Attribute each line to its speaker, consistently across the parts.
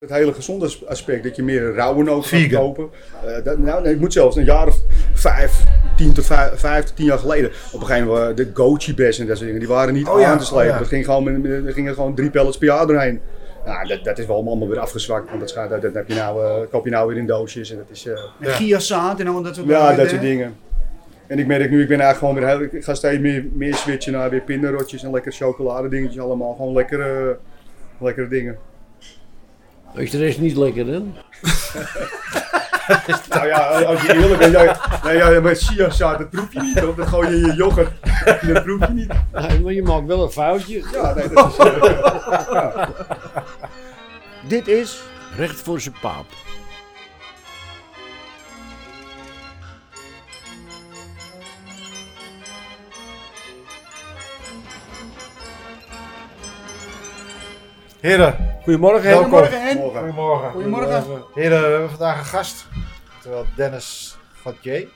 Speaker 1: Het hele gezondheidsaspect, dat je meer rauwe noten gaat
Speaker 2: Vegan.
Speaker 1: kopen. Eh, dat, nou, nee, ik moet zelfs een jaar of vijf, tien tot vijf, vijf tot tien jaar geleden. Op een gegeven moment, eh, de goji best en dat soort dingen, die waren niet
Speaker 2: Oh
Speaker 1: aan
Speaker 2: ja,
Speaker 1: te slepen.
Speaker 2: oh ja.
Speaker 1: Dat ging gewoon, met- met- er gingen gewoon drie pellets per jaar doorheen. Nou, dat, dat is wel allemaal weer afgezwakt, want dat, gaat, dat, dat heb je nou, eh, koop je nou weer in doosjes en dat is... eh,
Speaker 2: Ja.
Speaker 3: En Giazaad en al dat soort
Speaker 1: ja, dat
Speaker 3: dingen,
Speaker 1: soort
Speaker 3: hè?
Speaker 1: dingen. En ik merk nu, ik ben eigenlijk gewoon weer heel, ik ga steeds meer, meer switchen naar weer pindarotjes en lekker chocoladedingetjes allemaal. Gewoon lekkere, lekkere dingen.
Speaker 4: Is de rest niet lekker dan?
Speaker 1: Nou ja, als je eerlijk bent, jij, nou ja, maar chiazaad, dat proef je niet hoor. Dat gooi je in je yoghurt, dat proef je niet.
Speaker 4: Nee, maar je maakt wel een foutje.
Speaker 1: Ja, nee, dat is, eh,
Speaker 4: Dit is Recht voor zijn paap.
Speaker 2: Heren, goedemorgen. Hen.
Speaker 3: Goedemorgen, Hen.
Speaker 1: morgen.
Speaker 2: Goedemorgen.
Speaker 3: Goedemorgen.
Speaker 2: Heren, we hebben vandaag een gast. Terwijl Dennis Gauthier.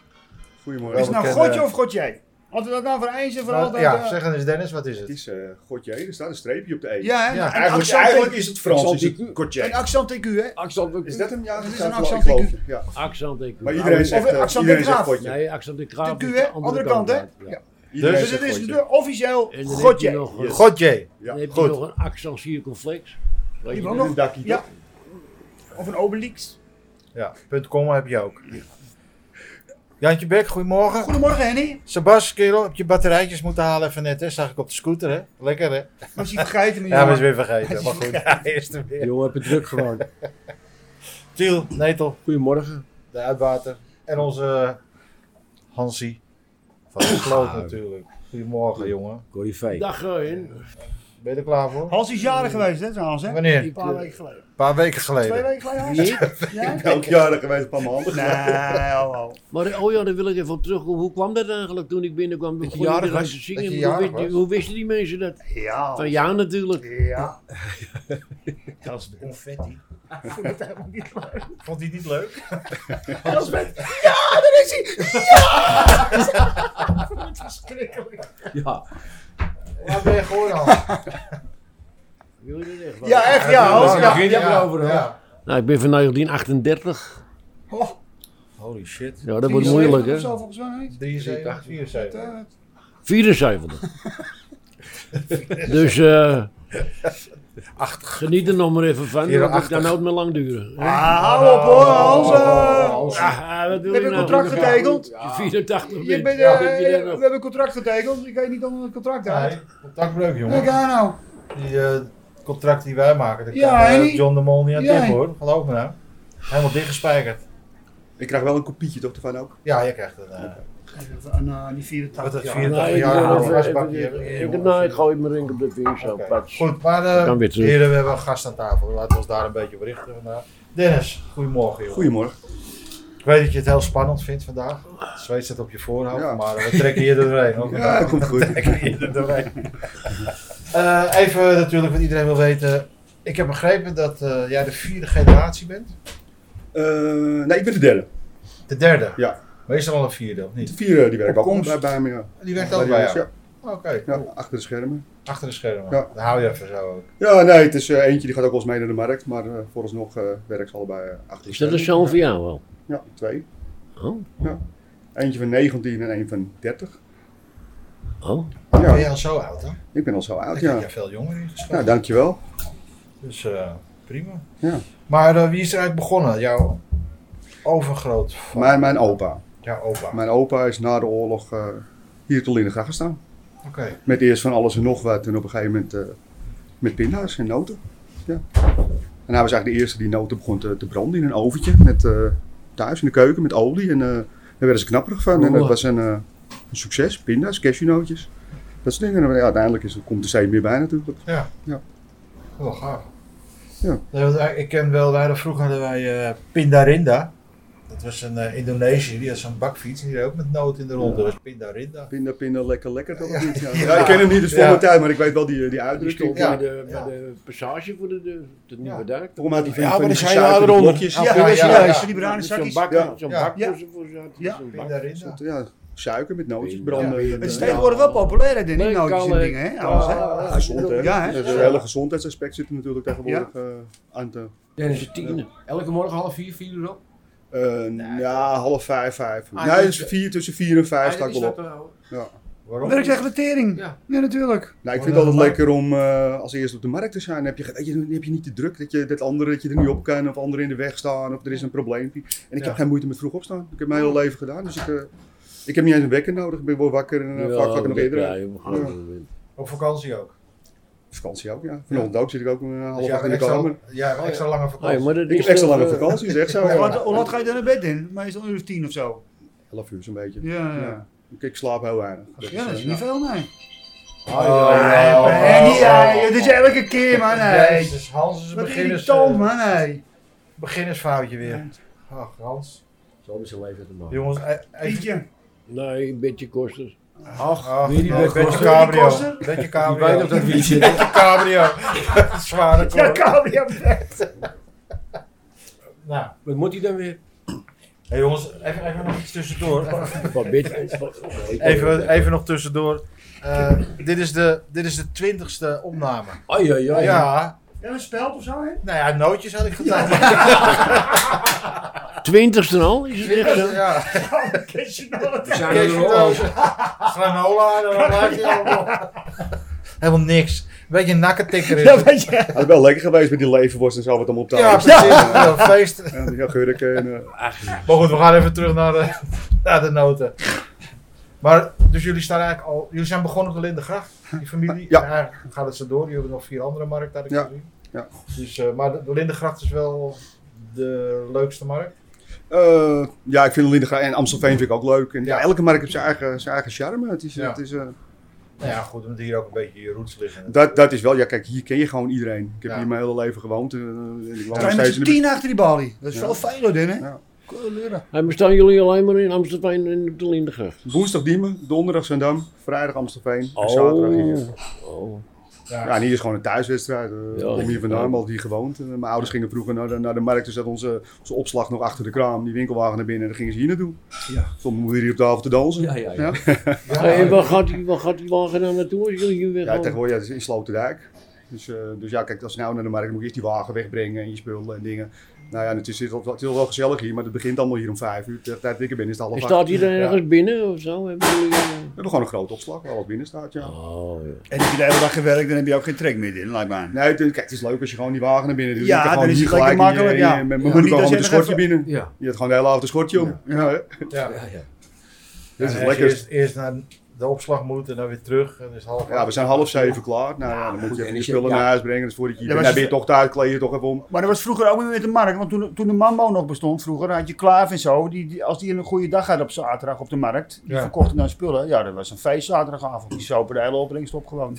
Speaker 1: Goedemorgen.
Speaker 3: Is het nou
Speaker 2: Welke-
Speaker 3: Godje of Godjij? Hadden we dat nou voor eens en voor altijd?
Speaker 2: Ja,
Speaker 3: eh,
Speaker 2: zeg dan eens Dennis, wat is
Speaker 1: Het
Speaker 2: het?
Speaker 1: is eh Gautier, er staat een streepje op de E.
Speaker 3: Ja, hè?
Speaker 2: Ja,
Speaker 3: Een
Speaker 1: eigenlijk,
Speaker 3: accent-
Speaker 1: eigenlijk is het Frans, is het
Speaker 4: Accent-
Speaker 3: Een
Speaker 1: Gautier.
Speaker 3: accent TQ, hè?
Speaker 4: Accent
Speaker 1: Is dat hem? Ja,
Speaker 3: Het is
Speaker 1: staat
Speaker 3: een Nou,
Speaker 1: wel,
Speaker 3: accent
Speaker 1: geloof
Speaker 3: IQ.
Speaker 1: ik, Ja.
Speaker 4: Accent ik.
Speaker 1: Maar iedereen zegt, eh,
Speaker 3: accent
Speaker 1: iedereen zegt
Speaker 3: Graaf.
Speaker 1: Gautier.
Speaker 4: Nee, accent de kraap.
Speaker 3: De Q,
Speaker 4: is
Speaker 3: hè? Andere kant, hè?
Speaker 4: uit,
Speaker 3: Ja.
Speaker 1: Iedereen
Speaker 3: Dus het
Speaker 1: zegt
Speaker 3: is
Speaker 1: Gautier.
Speaker 3: de officieel
Speaker 4: En dan heb je
Speaker 3: Godje.
Speaker 4: nog, een-
Speaker 2: Gauthier.
Speaker 4: dan heb je
Speaker 2: goed.
Speaker 4: nog een accent circumflex. Weet je
Speaker 3: Iemand
Speaker 4: dat?
Speaker 3: nog?
Speaker 1: Een dakkie,
Speaker 3: Ja.
Speaker 1: toch?
Speaker 3: Of een Obelix.
Speaker 2: Ja, punt .com heb je ook. Jantje Bek, goedemorgen.
Speaker 3: Goedemorgen, Henny.
Speaker 2: Sebas, kerel, heb je batterijtjes moeten halen even net, hè? Zag ik op de scooter, hè? Lekker, hè?
Speaker 3: Was hij vergeten? niet,
Speaker 2: Ja, we is
Speaker 3: jongen?
Speaker 2: weer vergeten. Maar goed, ja, eerst er weer.
Speaker 5: Jongen, heb het druk gewoon.
Speaker 2: Tiel, Netel,
Speaker 5: Goedemorgen.
Speaker 2: de uitwater. En onze eh, Hansie. Van de Sloot natuurlijk. Goedemorgen, jongen.
Speaker 5: Corrie Vee.
Speaker 4: Dag Hen.
Speaker 2: Ben je er klaar voor?
Speaker 3: Hans is jarig geweest, hè, trouwens, hè?
Speaker 2: Wanneer?
Speaker 3: Een paar weken geleden.
Speaker 2: Een paar weken
Speaker 3: Twee
Speaker 2: geleden.
Speaker 3: weken geleden, Hans?
Speaker 4: eh, Niet?
Speaker 3: Ja?
Speaker 1: Elk jaar er geweest, een paar maanden.
Speaker 3: Nee, hallo.
Speaker 4: Maar oh ja, daar wil ik even op terugkomen. Hoe kwam dat eigenlijk toen ik binnenkwam?
Speaker 5: Dat je
Speaker 4: Begon
Speaker 5: jarig
Speaker 4: iedereen
Speaker 5: was?
Speaker 4: te zingen.
Speaker 2: Dat je
Speaker 4: hoe,
Speaker 2: jarig
Speaker 4: wist-
Speaker 2: was?
Speaker 4: hoe wisten die mensen dat?
Speaker 3: Ja.
Speaker 4: Van ja, natuurlijk.
Speaker 3: Ja. Dat is
Speaker 2: Confetti.
Speaker 3: Ik vond het helemaal niet leuk.
Speaker 2: Vond hij niet leuk?
Speaker 3: Hans met- Ja, daar is hij! Ja! Ik vond het verschrikkelijk.
Speaker 5: Ja,
Speaker 2: Waar ben je gewoon al?
Speaker 4: Wil je dat echt wel?
Speaker 3: Ja, echt, ja, Hans.
Speaker 5: daar
Speaker 3: Ja.
Speaker 5: begin je erover, hè?
Speaker 4: Nou, ik ben van 1938.
Speaker 3: Oh,
Speaker 2: Holy shit.
Speaker 4: Ja, dat wordt
Speaker 3: 73
Speaker 4: moeilijk,
Speaker 3: of Zo
Speaker 4: hè?
Speaker 3: volgens mij.
Speaker 2: 73, 74.
Speaker 3: Eh,
Speaker 4: 74. dus eh geniet er nog maar even van. Dat
Speaker 2: 84.
Speaker 4: kan nooit meer lang duren. hè?
Speaker 3: Ah, hou op hoor, Hans. eh.
Speaker 5: Hans.
Speaker 4: Ah, wat wil
Speaker 3: We
Speaker 4: je
Speaker 3: hebben een
Speaker 4: nou?
Speaker 3: contract getekend.
Speaker 4: Je 84
Speaker 3: Je
Speaker 4: bent.
Speaker 3: bent,
Speaker 4: Ja,
Speaker 3: eh,
Speaker 4: ben je
Speaker 3: we
Speaker 4: daar nog?
Speaker 3: hebben een contract getekend. Ik weet niet onder het contract uit.
Speaker 2: Nee, contactbreuk,
Speaker 3: Kijk
Speaker 2: jongen.
Speaker 3: aan nou.
Speaker 2: Die eh, contract die wij maken, dat kan
Speaker 3: Ja,
Speaker 2: eh,
Speaker 3: hè?
Speaker 2: John de Mol niet aan
Speaker 3: Ja.
Speaker 2: tippen, hoor. Geloof me nou. Helemaal dichtgespijkerd.
Speaker 1: Ik krijg wel een kopietje toch ervan ook?
Speaker 2: Ja, je krijgt een... eh,
Speaker 3: Aan die
Speaker 2: wat
Speaker 3: 84
Speaker 2: het
Speaker 3: jaar.
Speaker 2: 84
Speaker 4: Nee, ik
Speaker 2: jaar
Speaker 4: wil
Speaker 2: oude
Speaker 4: even-
Speaker 2: gasbakje.
Speaker 4: even-
Speaker 2: hebben.
Speaker 4: ik- Nee, ik gooi mijn ring op de vinger zo.
Speaker 2: Oké.
Speaker 4: pats.
Speaker 2: Goed, maar
Speaker 4: Ik
Speaker 2: eh
Speaker 4: kan weer terug.
Speaker 2: heren, we hebben een gast aan tafel. Laten we ons daar een beetje berichten vandaag. Dennis, goedemorgen jongen.
Speaker 1: Goedemorgen.
Speaker 2: Ik weet dat je het heel spannend vindt vandaag. Het zweet zit op je voorhoofd,
Speaker 1: Ja.
Speaker 2: maar we trekken je er doorheen. hoor.
Speaker 1: Ja, dat komt goed.
Speaker 2: Ik weet het nog niet. Eh, even natuurlijk wat iedereen wil weten. Ik heb begrepen dat eh, jij de vierde generatie bent.
Speaker 1: Eh, nee, ik ben de derde.
Speaker 2: De derde.
Speaker 1: Ja.
Speaker 2: Meestal al een vierde, of
Speaker 1: De
Speaker 2: niet?
Speaker 1: vierde eh, die werkt
Speaker 3: Op
Speaker 1: ook
Speaker 3: komst.
Speaker 1: bij, bij me. Ja.
Speaker 2: Die werkt ook bij
Speaker 1: jongens,
Speaker 2: jou?
Speaker 1: ja.
Speaker 2: Oké,
Speaker 1: Ja,
Speaker 2: cool.
Speaker 1: achter de schermen.
Speaker 2: Achter de schermen.
Speaker 1: Ja.
Speaker 2: Dan hou je even zo ook.
Speaker 1: Ja, nee, het is eh, eentje die gaat ook wel eens mee naar de markt, maar eh, vooralsnog eh werkt ze allebei eh, achter de
Speaker 4: Is Dus dat een
Speaker 1: schermen.
Speaker 4: zoon van jou wel?
Speaker 1: Ja, twee.
Speaker 4: Oh,
Speaker 1: Eentje van 19 en een van 30.
Speaker 4: oh.
Speaker 2: Ben
Speaker 1: Ja,
Speaker 2: jij al zo oud dan?
Speaker 1: ik ben al zo oud,
Speaker 2: Ik heb
Speaker 1: ja.
Speaker 2: jij veel jonger ingeschat.
Speaker 1: Nou, dankjewel.
Speaker 2: Dus eh, prima.
Speaker 1: Ja.
Speaker 2: Maar eh, wie is er eigenlijk begonnen? Jouw overgroot,
Speaker 1: Mijn, mijn opa.
Speaker 2: jouw opa.
Speaker 1: Mijn opa is na de oorlog eh, hier te Lindegracht gestaan.
Speaker 2: Oké.
Speaker 1: Met eerst van alles en nog wat en op een gegeven moment eh, met pinda's en noten. Ja. En hij was eigenlijk de eerste die noten begon te, te branden in een oventje met, eh, thuis in de keuken met olie. En eh, daar werden ze knapperig van en dat was een, eh, een succes. Pinda's, cashewnootjes, dat soort dingen. En ja, uiteindelijk is, komt er steeds meer bij natuurlijk.
Speaker 2: Ja.
Speaker 1: Ja.
Speaker 2: Wel gaaf.
Speaker 1: Ja.
Speaker 2: Nee, want wij- Ik ken wel, wij hadden vroeger hadden wij eh, Pindarinda. Dat was een eh, Indonesië, die had zo'n bakfiets en die deed ook met noot in de ronde. Dat was Pindarinda.
Speaker 1: Pinda, pinda, lekker, lekker. Dat
Speaker 2: Ja.
Speaker 1: niet, ja.
Speaker 2: Ja.
Speaker 1: Ja, ik ken hem niet, dus voor
Speaker 2: Ja.
Speaker 1: mijn tijd, maar ik weet wel die, die
Speaker 4: Die
Speaker 1: uitdrukking.
Speaker 4: stond
Speaker 2: Ja,
Speaker 4: bij, de,
Speaker 2: ja.
Speaker 4: bij de passage voor de, de, de Nieuwe
Speaker 2: Ja.
Speaker 4: Duik.
Speaker 1: Voor mij die van,
Speaker 5: Ja,
Speaker 1: van
Speaker 5: maar
Speaker 1: die
Speaker 5: dan zijn we
Speaker 1: gesuikerde
Speaker 5: daaronder.
Speaker 1: blokjes.
Speaker 3: Ja,
Speaker 2: Ja, ja,
Speaker 3: ja,
Speaker 2: ja.
Speaker 3: Die bruine
Speaker 4: Met Zo'n
Speaker 3: zakjes.
Speaker 4: bak,
Speaker 1: Ja.
Speaker 4: zo'n
Speaker 2: Ja.
Speaker 4: bak
Speaker 3: Ja.
Speaker 4: voor ze- voor ze-
Speaker 3: Ja.
Speaker 4: zo'n bak.
Speaker 2: Pindarinda.
Speaker 1: Ja, suiker met nootjes,
Speaker 4: Ja.
Speaker 1: branden.
Speaker 3: Het is
Speaker 1: Ja.
Speaker 3: tegenwoordig wel populair, hè, die
Speaker 4: Nee,
Speaker 3: nootjes en
Speaker 4: kan, eh,
Speaker 3: dingen, hè? Alles, hè?
Speaker 4: kan, eh,
Speaker 1: Gezond, hè?
Speaker 3: Ja, hè?
Speaker 1: Het hele gezondheidsaspect zit er natuurlijk tegenwoordig eh, aan te...
Speaker 5: Dennis is tien. Elke morgen half vier, vier uur op.
Speaker 1: eh, ja, half vijf, vijf.
Speaker 5: Ah,
Speaker 1: nee,
Speaker 5: die-
Speaker 1: dus vier, tussen vier en vijf
Speaker 5: Ah,
Speaker 1: sta ik
Speaker 5: die
Speaker 1: wel op.
Speaker 5: staat er wel.
Speaker 1: Ja.
Speaker 4: eh.
Speaker 2: Waarom?
Speaker 3: Werksegletering. Ja.
Speaker 5: Ja.
Speaker 3: natuurlijk.
Speaker 1: Nou, ik
Speaker 2: Gewoon
Speaker 1: vind het
Speaker 2: naar de
Speaker 1: altijd
Speaker 2: markt.
Speaker 1: lekker om eh, als eerste op de markt te zijn. Dan heb je, weet je, dan heb je niet de druk dat je dat andere dat je er niet op kan of anderen in de weg staan of er is een probleempje. En ik
Speaker 2: Ja.
Speaker 1: heb geen moeite met vroeg opstaan. Ik heb mijn hele leven gedaan, dus ik, eh, ik heb niet eens een wekker nodig. Ik ben wel wakker en eh, vaak wakker nog eerder.
Speaker 4: Ja, je mag
Speaker 1: Ja.
Speaker 4: gewoon-
Speaker 2: Op vakantie ook.
Speaker 1: Vakantie ook, ja. Vanochtend ook zit ik ook een eh,
Speaker 2: Dus
Speaker 1: half
Speaker 2: jij
Speaker 1: acht
Speaker 2: hebt
Speaker 1: in de
Speaker 2: extra,
Speaker 1: kamer.
Speaker 2: jij hebt extra lange vakantie.
Speaker 4: Hey, maar dat
Speaker 1: Ik heb
Speaker 4: is
Speaker 1: extra
Speaker 4: toch,
Speaker 1: lange
Speaker 4: eh,
Speaker 1: vakantie, is echt zo.
Speaker 3: Hoe
Speaker 1: Ja.
Speaker 3: laat- hoe laat ga je dan naar bed in? Meestal een uur of tien of zo.
Speaker 1: Elf uur zo'n beetje.
Speaker 3: Ja, ja.
Speaker 1: Ja. Ik, ik slaap heel weinig. Dus,
Speaker 3: Ja, dat is
Speaker 1: eh,
Speaker 3: niet veel, nee.
Speaker 2: Oh, ja,
Speaker 3: Nee,
Speaker 2: ja,
Speaker 3: nee, niet-
Speaker 2: ja,
Speaker 4: Oh.
Speaker 3: nee,
Speaker 2: ja.
Speaker 3: Dit is elke keer, man. nee.
Speaker 2: Jezus, Hans is een
Speaker 3: Wat
Speaker 2: beginners,
Speaker 3: irritant,
Speaker 2: eh,
Speaker 3: man. nee.
Speaker 2: beginnersfoutje weer. Ach, Hans.
Speaker 4: Zo is zijn leven te maken.
Speaker 2: Jongens, eh, even...
Speaker 3: Eentje.
Speaker 4: Nee, een beetje kosten.
Speaker 2: Ach,
Speaker 5: weer die
Speaker 2: nou,
Speaker 5: Bert
Speaker 2: Bert
Speaker 5: Koster.
Speaker 2: Cabrio.
Speaker 3: Die Koster?
Speaker 2: Bert
Speaker 5: Ik weet nog
Speaker 2: Cabrio.
Speaker 5: dat wie zit.
Speaker 2: Bert Cabrio. Zware
Speaker 3: Ja,
Speaker 2: klok.
Speaker 3: kabel.
Speaker 2: Nou,
Speaker 5: Wat moet hij dan weer?
Speaker 2: hey jongens, even, even nog iets tussendoor.
Speaker 4: Wat beetje.
Speaker 2: Even, even nog tussendoor. Eh, dit, is de, dit is de twintigste opname.
Speaker 5: Ai, ai, ai.
Speaker 2: Ja,
Speaker 3: Ja, een speld of zo, hè?
Speaker 2: nou ja, nootjes had ik gedaan.
Speaker 4: Twintigste al? Is het echt zo?
Speaker 2: Ja.
Speaker 5: We zijn er nog
Speaker 2: Kersendoos,
Speaker 5: over.
Speaker 2: granola, en dan maak je allemaal. Helemaal niks. Beetje een nakketikker is
Speaker 3: Ja,
Speaker 2: het.
Speaker 3: weet je.
Speaker 1: Het is wel lekker geweest met die leverworst en zo wat om op te
Speaker 2: Ja,
Speaker 1: houden.
Speaker 2: precies. Ja, feest.
Speaker 1: Ja, die gurken en... eh,
Speaker 2: Maar goed, we gaan even terug naar de, naar de noten. Maar, dus jullie staan eigenlijk al... Jullie zijn begonnen op de Lindengracht, die familie.
Speaker 1: Ja.
Speaker 2: En eigenlijk gaat het zo door. Jullie hebben nog vier andere markten, had ik
Speaker 1: Ja.
Speaker 2: gezien.
Speaker 1: Ja.
Speaker 2: Dus, eh, maar de, de Lindengracht is wel de leukste markt.
Speaker 1: Eh, ja, ik vind Lindengraaf en Amstelveen vind ik ook leuk. En ja.
Speaker 2: Ja.
Speaker 1: elke markt heeft zijn eigen, zijn eigen charme. Het is,
Speaker 2: Ja.
Speaker 1: het is, eh,
Speaker 2: Nou ja, goed, omdat hier ook een beetje je roots liggen.
Speaker 1: dat, dat is wel, ja kijk, hier ken je gewoon iedereen. Ik heb
Speaker 2: Ja.
Speaker 1: hier mijn hele leven gewoond. eh, en ik woon
Speaker 3: Kan
Speaker 1: nog
Speaker 3: je met
Speaker 1: steeds
Speaker 3: z'n
Speaker 1: in de
Speaker 3: tien achter die balie? Dat is
Speaker 1: Ja.
Speaker 3: wel veel, hoor, hè?
Speaker 1: Ja.
Speaker 3: Kleuren.
Speaker 4: Hij bestaan jullie alleen maar in Amsterdam en op de Lindengracht.
Speaker 1: buurt. Woensdag Diemen, donderdag Zandam, vrijdag Amstelveen en zaterdag hier.
Speaker 4: Oh.
Speaker 1: Ja, en hier is gewoon een thuiswedstrijd. eh, Ik
Speaker 4: Ja,
Speaker 1: kom hier
Speaker 4: ja.
Speaker 1: vandaan, maar altijd hier gewoond. Eh, mijn ouders gingen vroeger naar de, naar de markt, dus zat onze, onze opslag nog achter de kraam. Die winkelwagen naar binnen en dan gingen ze hier naartoe.
Speaker 5: Ja.
Speaker 1: Stond mijn moeder hier op tafel te dansen. Ja,
Speaker 5: Ja, ja, ja.
Speaker 4: Hey, en waar gaat die, waar gaat die wagen dan naartoe als jullie hier weer gaan?
Speaker 1: tegenwoordig ja, het is in Sloterdijk. Dus, eh, dus ja, kijk, als je nou naar de markt moet, moet je eerst die wagen wegbrengen en je spullen en dingen. Nou ja, het is, het is wel- het is wel gezellig hier, maar het begint allemaal hier om vijf uur. Tegen de tijd dat ik er ben is het half
Speaker 4: En
Speaker 1: acht.
Speaker 4: staat hij dan
Speaker 3: eh,
Speaker 1: Ja.
Speaker 4: ergens binnen of zo? Hebben jullie, eh,
Speaker 1: We hebben gewoon een grote opslag waar wat binnen staat, ja.
Speaker 4: Oh, ja.
Speaker 3: En heb je de hele dag gewerkt, dan heb je ook geen trek meer in, lijkt me aan.
Speaker 1: Nee, het, kijk, het is leuk als je gewoon die wagen naar binnen doet.
Speaker 3: Ja,
Speaker 1: Je kan
Speaker 3: dan
Speaker 1: gewoon
Speaker 3: is
Speaker 1: hier
Speaker 3: het lekker
Speaker 1: gelijk in je-
Speaker 3: makkelijk,
Speaker 1: in
Speaker 3: ja.
Speaker 1: je- Mijn
Speaker 3: Ja.
Speaker 1: moeder
Speaker 3: Niet
Speaker 1: kwam
Speaker 3: dat
Speaker 1: gewoon
Speaker 3: je
Speaker 1: met een
Speaker 3: nog
Speaker 1: schortje binnen.
Speaker 5: Ja,
Speaker 1: Je had gewoon de hele avond een schortje om. Ja, hè.
Speaker 2: Ja.
Speaker 5: ja, ja.
Speaker 1: Dit
Speaker 2: Ja,
Speaker 1: is
Speaker 2: en als je
Speaker 1: lekker.
Speaker 2: Eerst, eerst naar de opslag moet en dan weer terug. En dan is het half
Speaker 1: Ja, we zijn half zeven klaar. Nou ja, dan moet
Speaker 5: goed,
Speaker 1: je even
Speaker 5: en
Speaker 1: je
Speaker 5: is je-
Speaker 1: spullen
Speaker 5: ja.
Speaker 1: naar huis brengen. Dus voordat je hier
Speaker 3: Ja,
Speaker 1: bent,
Speaker 3: maar
Speaker 1: dan ben je toch thuis, kleed je toch even om.
Speaker 3: Maar dat was vroeger ook met de markt, want toen, toen de Mambo nog bestond, vroeger had je Klaaf en zo, die, die- als die een goede dag had op zaterdag op de markt, die
Speaker 2: Ja.
Speaker 3: verkochten dan spullen, ja dat was een feest zaterdagavond, die zopen de hele opbrengst op gewoon.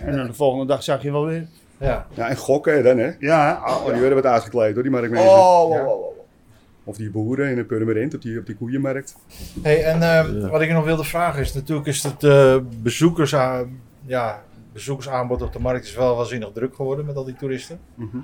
Speaker 3: en dan de volgende dag zag je wel weer.
Speaker 2: Ja.
Speaker 1: Ja, en gokken dan, hè.
Speaker 3: Ja, hè?
Speaker 1: Oh, die werden wat uitgekleed door die marktmensen.
Speaker 3: oh, oh, oh, oh.
Speaker 1: Of die boeren in een Purmerend, op die, op die koeienmarkt.
Speaker 2: Hey, en ehm, wat ik je nog wilde vragen is, natuurlijk is het eh, bezoekers, ja, bezoekersaanbod op de markt is wel waanzinnig druk geworden met al die toeristen.
Speaker 1: Mhm.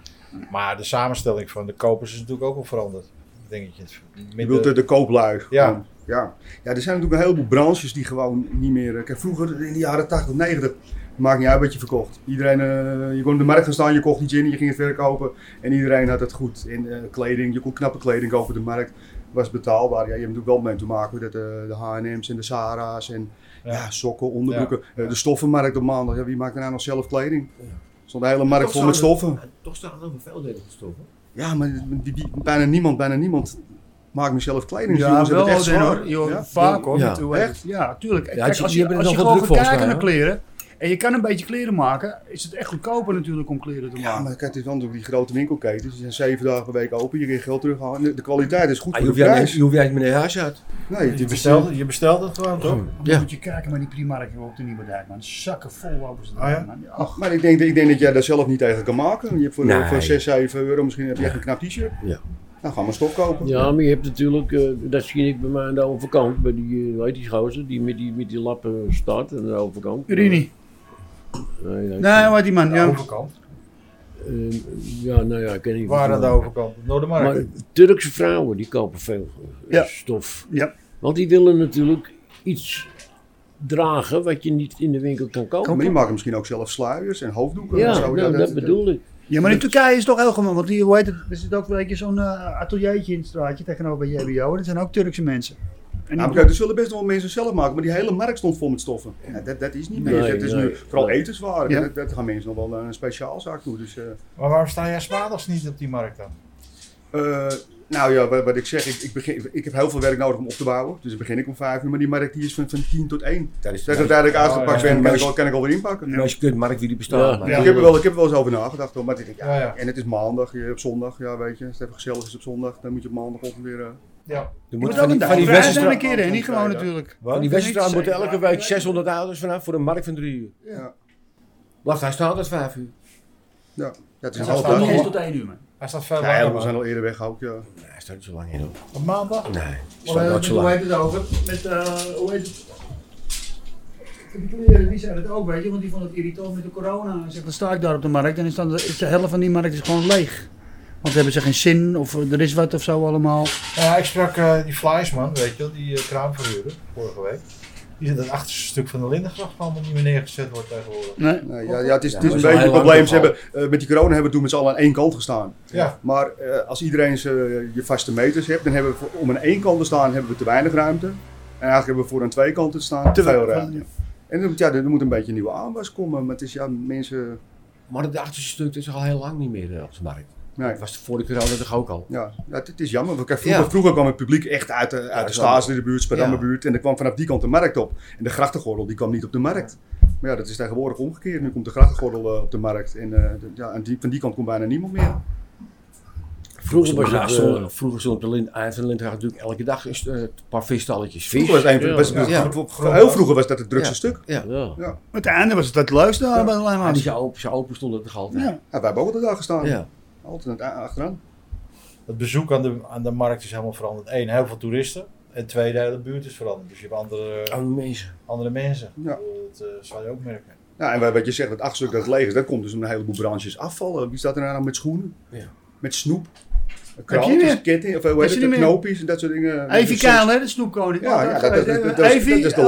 Speaker 2: Maar de samenstelling van de kopers is natuurlijk ook wel veranderd. Ik denk dat je het
Speaker 1: Je
Speaker 2: minder-
Speaker 1: wilt de, de kooplui.
Speaker 2: Ja.
Speaker 1: ja. Ja, er zijn natuurlijk een heleboel branches die gewoon niet meer... eh, Kijk, vroeger in de jaren 80, 90, maakt niet uit wat je verkocht. Iedereen, eh, je kon op de markt gaan staan, je kocht iets in en je ging het verkopen. En iedereen had het goed. En eh, kleding, je kon knappe kleding kopen op de markt. Was betaalbaar. Ja, je hebt natuurlijk wel mee te maken dat eh, de H&M's en de Sarah's en ja.
Speaker 2: Ja.
Speaker 1: sokken, onderbroeken. Eh, de stoffenmarkt op maandag. Ja, wie maakt er nou nog zelf kleding? Stond de hele markt
Speaker 5: Toch
Speaker 1: vol met
Speaker 5: zouden-
Speaker 1: stoffen.
Speaker 5: Toch staan er ook veel delen gestoffen.
Speaker 1: Ja, maar die, die- bijna niemand, bijna niemand maakt mezelf kleding. Dus
Speaker 3: Ja,
Speaker 1: jongens
Speaker 3: wel
Speaker 1: hebben het
Speaker 3: echt
Speaker 1: echt zwaar.
Speaker 3: Joh,
Speaker 1: Ja.
Speaker 3: Vaak hoor.
Speaker 5: Ja.
Speaker 3: met hoe-
Speaker 1: Echt?
Speaker 3: Ja, tuurlijk. Kijk,
Speaker 5: die-
Speaker 3: als
Speaker 5: die
Speaker 3: je,
Speaker 5: hebben het
Speaker 3: als je
Speaker 5: wel
Speaker 3: gewoon gaat
Speaker 5: druk volgens
Speaker 3: kijken
Speaker 5: mij,
Speaker 3: naar kleren, en je kan een beetje kleren maken, is het echt goedkoper natuurlijk om kleren te maken.
Speaker 1: Ja, maar kijk, het is wel natuurlijk die grote winkelketens. Die zijn zeven dagen per week open. Je kunt geld terughalen. De- De kwaliteit is goed
Speaker 5: Ah, je
Speaker 1: voor
Speaker 5: hoeft
Speaker 1: de prijs.
Speaker 5: eigenlijk met meneer Haas uit.
Speaker 1: Nee,
Speaker 2: je,
Speaker 1: dit is...
Speaker 2: bestelt, je bestelt het gewoon
Speaker 1: Oh.
Speaker 2: toch?
Speaker 3: Dan
Speaker 5: Ja.
Speaker 3: moet je kijken naar die Primark hier op de Nieuwe Dijk, man. Zakken vol lopen ze
Speaker 2: Ah,
Speaker 3: erin,
Speaker 2: ja?
Speaker 3: man. Ja.
Speaker 1: Maar ik denk, ik denk dat jij daar zelf niet tegen kan maken. Je hebt voor,
Speaker 5: Nee.
Speaker 1: voor 6, 7 euro misschien heb je echt een knap t-shirt.
Speaker 5: Ja.
Speaker 1: Nou, ga maar stof kopen.
Speaker 4: Ja, maar je hebt natuurlijk, eh, dat zie ik bij mij aan de overkant, bij die, eh, weet die gozer, die met die, met die lappen staat aan de overkant. Eh,
Speaker 3: Urini.
Speaker 4: Nee, nee.
Speaker 3: Nee, wat die man.
Speaker 2: Aan de
Speaker 3: Ja.
Speaker 2: overkant.
Speaker 4: Eh, ja, nou ja, ik ken niet.
Speaker 2: Waar aan de
Speaker 4: vertellen.
Speaker 2: overkant? Noordermarkt.
Speaker 4: Maar Turkse vrouwen die kopen veel eh,
Speaker 3: Ja.
Speaker 4: stof.
Speaker 3: Ja.
Speaker 4: Want die willen natuurlijk iets dragen wat je niet in de winkel kan kopen.
Speaker 1: Maar die maken misschien ook zelf sluiers en hoofddoeken. en
Speaker 4: ja,
Speaker 1: zo.
Speaker 4: nou, dat bedoel ik.
Speaker 3: Ja, maar in Turkije is het toch heel gewoon, want hier, hoe heet het, er zit ook weet je, zo'n eh, ateliertje in het straatje tegenover bij JBO. En dat zijn ook Turkse mensen.
Speaker 1: Nou,
Speaker 3: En die-
Speaker 1: maar kijk, dat zullen best wel mensen zelf maken, maar die hele markt stond vol met stoffen. Ja, dat, dat is niet meer.
Speaker 4: Nee,
Speaker 1: dat is
Speaker 4: nee.
Speaker 1: nu vooral etenswaren.
Speaker 3: Ja.
Speaker 1: Dat, dat gaan mensen nog wel naar een speciaalzaak toe. Dus, eh,
Speaker 2: Maar waarom sta jij s'maandags niet op die markt dan?
Speaker 1: eh, nou ja, wat, wat ik zeg, ik, ik, begin, ik heb heel veel werk nodig om op te bouwen. Dus dan begin ik om vijf uur, maar die markt die is van, van tien tot één. Dus
Speaker 5: Dat is
Speaker 1: Dat ik uiteindelijk uitgepakt
Speaker 2: ja.
Speaker 1: ben, kan ik, al, kan ik alweer inpakken.
Speaker 5: En als je kunt, Mark, wie die bestaan.
Speaker 4: Ja.
Speaker 5: maar-
Speaker 1: Ik, heb er wel, ik heb er wel eens over nagedacht, hoor, maar ik denk, ja,
Speaker 2: Ja, ja.
Speaker 1: en het is maandag, je- op zondag, ja weet je, als het even gezellig is op zondag, dan moet je op maandagochtend weer... eh,
Speaker 2: Ja.
Speaker 5: Er
Speaker 3: Je moet
Speaker 5: moeten
Speaker 3: ook
Speaker 5: van
Speaker 3: een
Speaker 5: die- van die
Speaker 3: dag vrij zijn een
Speaker 5: Westerstraat-
Speaker 3: keer, hè? Niet gewoon
Speaker 2: Ja.
Speaker 3: natuurlijk.
Speaker 5: van die
Speaker 3: Dat is
Speaker 5: Westerstraat
Speaker 3: niet
Speaker 5: moeten
Speaker 3: zeker.
Speaker 5: elke week 600 auto's vanaf voor een markt van drie uur.
Speaker 1: ja.
Speaker 5: Wacht, hij staat tot vijf uur.
Speaker 1: Ja, dat is
Speaker 2: Ja,
Speaker 1: een
Speaker 2: dat
Speaker 1: half
Speaker 2: staat
Speaker 1: dag.
Speaker 2: nog
Speaker 1: Ja,
Speaker 2: wel.
Speaker 3: tot één uur, man.
Speaker 2: Hij staat veel
Speaker 1: ja,
Speaker 2: langer,
Speaker 1: we
Speaker 2: man.
Speaker 1: zijn al eerder weg ook, ja.
Speaker 5: Nee, hij staat niet zo lang in. hoor.
Speaker 2: Op maandag?
Speaker 5: Nee, hij
Speaker 3: Hoe
Speaker 5: staat nooit zo lang.
Speaker 3: heet het over? Met, eh, hoe heet het? Die kleren, die zijn het ook, weet je, want die vond het irritant met de corona. Zeg, dan sta ik daar op de markt en is dan is de helft van die markt is gewoon leeg. Want hebben ze geen zin of er is wat of zo allemaal.
Speaker 2: Ja, ik sprak eh, die Fliesman, weet je wel, die eh, kraamverhuurder, vorige week. Die zit aan het achterste stuk van de Lindengracht van, die meer neergezet wordt tegenwoordig.
Speaker 3: Nee.
Speaker 1: Nee, ja, ja, het is, het is
Speaker 5: Ja,
Speaker 1: een
Speaker 5: maar het is
Speaker 1: beetje
Speaker 5: al
Speaker 1: het
Speaker 5: heel
Speaker 1: probleem.
Speaker 5: lang
Speaker 1: Ze hebben, eh, met die corona hebben we toen met z'n allen aan één kant gestaan.
Speaker 2: Ja.
Speaker 1: Maar eh, als iedereen zijn- je vaste meters hebt, dan hebben we voor- om aan één kant te staan hebben we te weinig ruimte. En eigenlijk hebben we voor aan twee kanten te staan te veel ruimte. En dan moet- ja, er moet een beetje een nieuwe aanwas komen. Maar het is ja, mensen...
Speaker 5: Maar het achterste stuk is al heel lang niet meer eh, op de markt.
Speaker 1: Nee.
Speaker 5: Dat was de vorige corona toch ook al.
Speaker 1: Ja, ja, het, het is jammer. want kijk, vroeger,
Speaker 5: Ja.
Speaker 1: vroeger kwam het publiek echt uit de, uit
Speaker 5: dat
Speaker 1: de
Speaker 5: is
Speaker 1: Staatsen in de buurt,
Speaker 5: Ja.
Speaker 1: Spadammerbuurt. En er kwam vanaf die kant de markt op. En de grachtengordel die kwam niet op de markt. Maar ja, dat is tegenwoordig omgekeerd. Nu komt de grachtengordel eh, op de markt. En eh, de- ja, aan die, van die kant komt bijna niemand meer.
Speaker 4: Vroeger was
Speaker 5: Maar
Speaker 4: het...
Speaker 5: stond-
Speaker 4: eh,
Speaker 5: vroeger stond op de Lind, eind van de Lindgracht natuurlijk elke dag een st- eh, een paar visstalletjes.
Speaker 1: Vroeger was het een van-
Speaker 4: Ja.
Speaker 1: was het-
Speaker 5: Ja.
Speaker 1: voor- voor- Heel vroeger was dat het drukste
Speaker 5: Ja.
Speaker 1: stuk.
Speaker 4: ja.
Speaker 3: Uiteindelijk was het dat leukste daar bij de
Speaker 5: En
Speaker 3: Lijnwaard.
Speaker 5: Ah, die open, zo open stond het toch altijd.
Speaker 3: Ja.
Speaker 1: Ja, wij hebben ook altijd daar gestaan.
Speaker 5: Ja.
Speaker 1: Altijd a- achteraan.
Speaker 2: Het bezoek aan de, aan de markt is helemaal veranderd. Eén, heel veel toeristen. En twee, de hele buurt is veranderd. Dus je hebt andere,
Speaker 5: Oude mensen.
Speaker 2: andere mensen.
Speaker 1: Ja.
Speaker 2: Ik bedoel, Dat eh, zal je ook merken.
Speaker 1: Ja, en wat je zegt, dat achtstuk dat leeg is, dat komt dus om een heleboel branches afvallen. Wie staat er nou met schoenen?
Speaker 5: Ja.
Speaker 1: Met snoep?
Speaker 3: niet meer?
Speaker 1: Kraaltjes, ketting, of eh, hoe
Speaker 3: Heb
Speaker 1: heet
Speaker 3: je
Speaker 1: het,
Speaker 3: niet meer?
Speaker 1: knoopjes en dat soort dingen.
Speaker 3: Evie
Speaker 1: Dus, eh,
Speaker 3: Kuilen, de snoepkoning.
Speaker 1: Ja,
Speaker 3: altijd
Speaker 1: ja, dat- dat-
Speaker 3: geweest,
Speaker 1: dat-
Speaker 3: hè?
Speaker 1: dat is- dat is de
Speaker 3: Evie,
Speaker 1: laatste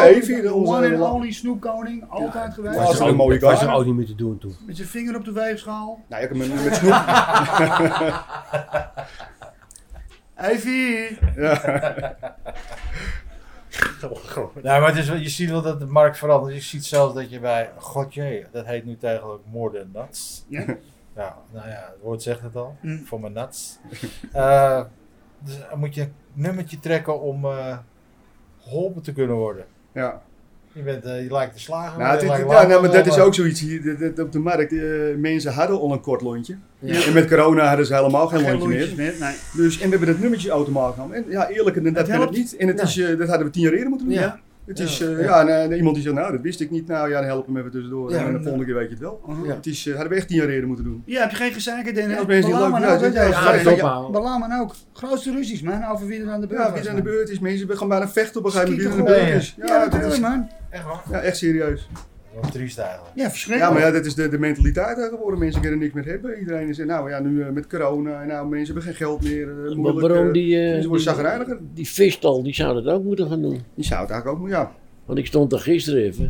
Speaker 3: altijd
Speaker 1: Evie,
Speaker 3: nog,
Speaker 1: de
Speaker 3: de
Speaker 1: onze-
Speaker 3: one and only snoepkoning, altijd geweest.
Speaker 1: Was
Speaker 5: Dat
Speaker 1: er een mooie
Speaker 5: was
Speaker 1: kamer?
Speaker 5: er ook niet meer te doen toen.
Speaker 3: Met zijn vinger op de weegschaal.
Speaker 1: Nou ja, met, met snoep.
Speaker 3: Evie!
Speaker 2: Nou, maar het is, wel- je ziet wel dat de markt verandert. Je ziet zelfs dat je bij, godje, dat heet nu tegenwoordig more than nuts.
Speaker 3: Ja.
Speaker 2: Ja, nou ja, het woord zegt het al,
Speaker 3: Mm.
Speaker 2: voor mijn nuts. Eh, dus dan moet je een nummertje trekken om eh, geholpen te kunnen worden.
Speaker 1: Ja.
Speaker 2: Je, bent, eh, je lijkt te slagen.
Speaker 1: Nou, het
Speaker 2: je
Speaker 1: is-
Speaker 2: lijkt
Speaker 1: ja, nou, maar
Speaker 2: langer,
Speaker 1: dat is ook zoiets hier. dit- dit- op de markt, eh, mensen hadden al een kort lontje.
Speaker 5: Ja.
Speaker 1: En met corona hadden ze helemaal geen,
Speaker 3: Geen
Speaker 1: lontje
Speaker 3: lontjes
Speaker 1: meer.
Speaker 3: meer. Nee.
Speaker 1: Dus, en we hebben dat nummertje automaat genomen. En ja, eerlijk, en dat
Speaker 3: Het
Speaker 1: kan het
Speaker 3: helpt.
Speaker 1: niet. En het
Speaker 5: Nee.
Speaker 1: is, eh, dat hadden we tien jaar eerder moeten doen.
Speaker 5: Ja.
Speaker 1: Het
Speaker 5: Ja.
Speaker 1: is, eh,
Speaker 5: Ja.
Speaker 1: ja, en, eh, iemand die zegt, nou, dat wist ik niet. Nou ja, dan helpen we even tussendoor.
Speaker 5: Ja,
Speaker 1: en de
Speaker 5: en,
Speaker 1: volgende keer weet je het wel.
Speaker 3: Uh-huh.
Speaker 5: Ja.
Speaker 1: Het is, eh, hadden we echt tien jaar eerder moeten doen.
Speaker 3: Ja, heb je geen gezeik in
Speaker 1: Ja,
Speaker 3: ja,
Speaker 1: dat is niet leuk. Ja,
Speaker 3: Balaman ook.
Speaker 1: ja, ja,
Speaker 3: hè?
Speaker 1: ja, ja.
Speaker 3: Balaman ook. Grootste ruzies, man, over wie er aan de beurt
Speaker 1: Ja,
Speaker 3: was,
Speaker 1: wie er aan de
Speaker 3: man.
Speaker 1: beurt is. Mensen we gaan bijna vechten op een gegeven moment. Wie er aan
Speaker 3: Schieten
Speaker 1: de beurt is.
Speaker 3: Ja,
Speaker 1: dat
Speaker 3: natuurlijk,
Speaker 1: is
Speaker 3: man.
Speaker 2: Echt waar?
Speaker 1: ja, echt serieus.
Speaker 2: Wat triest eigenlijk.
Speaker 3: Ja,
Speaker 1: Ja, maar
Speaker 3: verschrikkelijk.
Speaker 1: ja, dat is de, de mentaliteit daar geworden. Mensen kunnen niks meer hebben. Iedereen is, eh, nou ja, nu eh, met corona. En nou, mensen hebben geen geld meer. eh,
Speaker 4: Maar
Speaker 1: moeilijk,
Speaker 4: waarom
Speaker 1: eh,
Speaker 4: die, eh,
Speaker 1: Ze worden
Speaker 4: die,
Speaker 1: chagrijniger.
Speaker 4: die vistal, die zou dat ook moeten gaan doen.
Speaker 1: Die zou het eigenlijk ook, ja.
Speaker 4: Want ik stond daar gisteren even.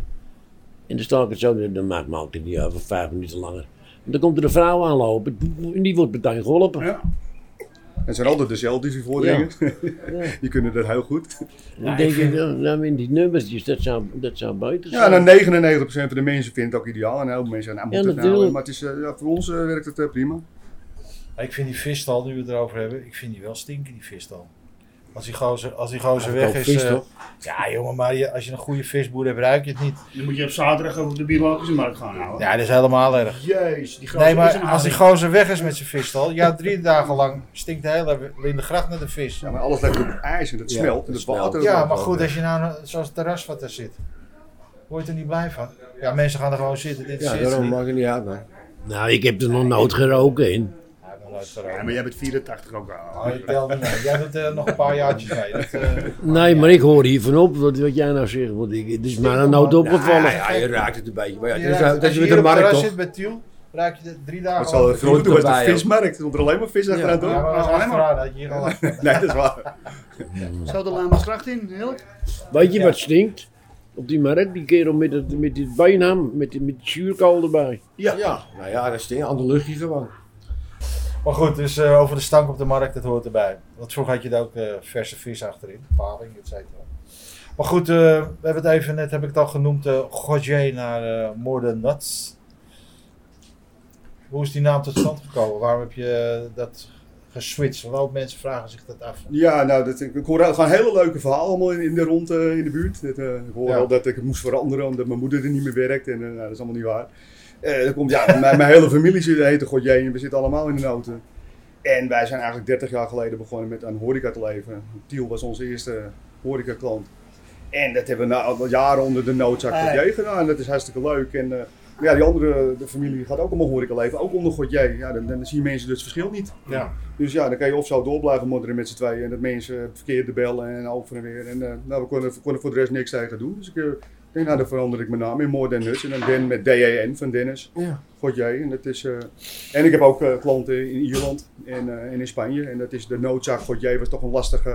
Speaker 4: En dan sta ik het zo, dan maakt me altijd niet over vijf minuten langer. En dan komt er een vrouw aanlopen en die wordt meteen geholpen.
Speaker 1: Ja. Het zijn altijd dezelfde die voordringen. die kunnen dat heel goed.
Speaker 4: Dan denk ik, nou, nou in die nummertjes, dat zou, dat zou buiten
Speaker 1: Ja,
Speaker 4: zijn.
Speaker 1: nou, 99% van de mensen vindt het ook ideaal. En heel veel mensen zeggen, nou
Speaker 4: Dus Ja,
Speaker 1: moet het nou.
Speaker 4: natuurlijk.
Speaker 1: Maar het is, eh, ja, voor ons eh, werkt het eh, prima.
Speaker 2: Maar Ik vind die visstal, nu we het erover hebben, ik vind die wel stinken, die visstal. Als die gozer, als die gozer weg is... eh, ja, jongen, maar je- als je een goede visboer hebt, ruik je het niet.
Speaker 3: Dan moet je op zaterdag op de biologische markt gaan houden.
Speaker 2: Ja, dat is helemaal erg.
Speaker 3: Jezus, die grote
Speaker 2: Nee, maar als die gozer weg is met zijn visstal, ja, drie dagen lang stinkt de hele Lindegracht naar de vis.
Speaker 1: Ja, maar alles lijkt op ijs en dat
Speaker 5: Ja,
Speaker 1: smelt. En
Speaker 5: dat
Speaker 1: dat
Speaker 5: smelt.
Speaker 1: water.
Speaker 2: Ja,
Speaker 5: wel
Speaker 2: maar
Speaker 5: wel,
Speaker 2: goed,
Speaker 5: ja.
Speaker 2: als je nou eh, zoals het terras wat daar zit, word je er niet blij van. Ja, mensen gaan er gewoon zitten, dit
Speaker 5: Ja,
Speaker 2: zit
Speaker 5: daarom
Speaker 2: niet.
Speaker 5: maakt het niet uit. Maar.
Speaker 4: Nou, ik heb er nog nooit geroken in.
Speaker 2: Ja, ik ben nooit veranderd.
Speaker 3: Ja, maar jij bent 84 ook
Speaker 2: Oh,
Speaker 3: al.
Speaker 2: je telt niet mee. Jij doet eh, nog een paar jaartjes mee. Dat, eh,
Speaker 4: Nee, maar ik hoor hiervan op wat, wat jij nou zegt, want ik, het is mij nou nooit opgevallen.
Speaker 5: Ja, ja, je raakt het een beetje. Maar
Speaker 2: je
Speaker 5: ja, dat is-
Speaker 2: ruikt-
Speaker 5: dat is
Speaker 2: als je
Speaker 5: weer
Speaker 2: hier
Speaker 5: de
Speaker 2: op het
Speaker 5: markt
Speaker 2: terras
Speaker 5: toch?
Speaker 2: zit bij Tiel, ruik je de drie dagen
Speaker 1: Dat zal
Speaker 2: lang-
Speaker 1: vroeger toen was het
Speaker 5: erbij
Speaker 1: een
Speaker 5: ook.
Speaker 1: vismarkt. Er stond er alleen maar vis achteraan,
Speaker 2: Ja, maar
Speaker 1: toch?
Speaker 2: dat is achteraan, dat je hier al
Speaker 1: Nee, dat is waar.
Speaker 3: Zo de Lamersgracht in, heerlijk.
Speaker 4: Weet je wat stinkt? Op die markt, die kerel met, het, met die beenham, met, die- met die zuurkool erbij.
Speaker 5: Ja. ja, nou ja, dat is een ander luchtje gewoon.
Speaker 2: Maar goed, dus eh, over de stank op de markt, dat hoort erbij. Want vroeger had je daar ook eh, verse vis achterin, paling, et cetera. Maar goed, eh, we hebben het even, net heb ik het al genoemd, eh Gogier naar eh More Than Nuts. Hoe is die naam tot stand gekomen? Waarom heb je eh, dat geswitcht? Want ook mensen vragen zich dat af.
Speaker 1: Ja, nou, dat, ik, ik hoor gewoon hele leuke verhalen allemaal in, in de rond eh, in de buurt. Dat, eh, ik hoor
Speaker 2: Ja.
Speaker 1: al dat ik het moest veranderen omdat mijn moeder er niet meer werkt. En eh, nou, dat is allemaal niet waar. Eh, dat komt, ja, mijn, mijn hele familie zit, heet de Godjé en we zitten allemaal in de noten. En wij zijn eigenlijk 30 jaar geleden begonnen met aan horeca te leven. Tiel was onze eerste horecaklant. En dat hebben we na al jaren onder de noodzak
Speaker 3: Hey.
Speaker 1: Godjé gedaan. Dat is hartstikke leuk. En eh, ja, die andere de familie gaat ook allemaal horeca leven, ook onder Godjé. Ja, dan, dan zien mensen dus het verschil niet.
Speaker 2: Ja.
Speaker 1: Dus ja, dan kan je of zo door blijven modderen met z'n tweeën. En dat mensen het verkeerde bellen en over en weer. En eh, nou, we konden, we konden voor de rest niks tegen doen. Dus ik eh, denk, nou, dan verander ik mijn naam in More Than Nuts. En dan Den met D-E-N van Dennis.
Speaker 5: Ja.
Speaker 1: God jij. En, dat is, eh, en ik heb ook eh, klanten in Ierland en, eh, en in Spanje. En dat is de noodzaak. God jij was toch een lastige,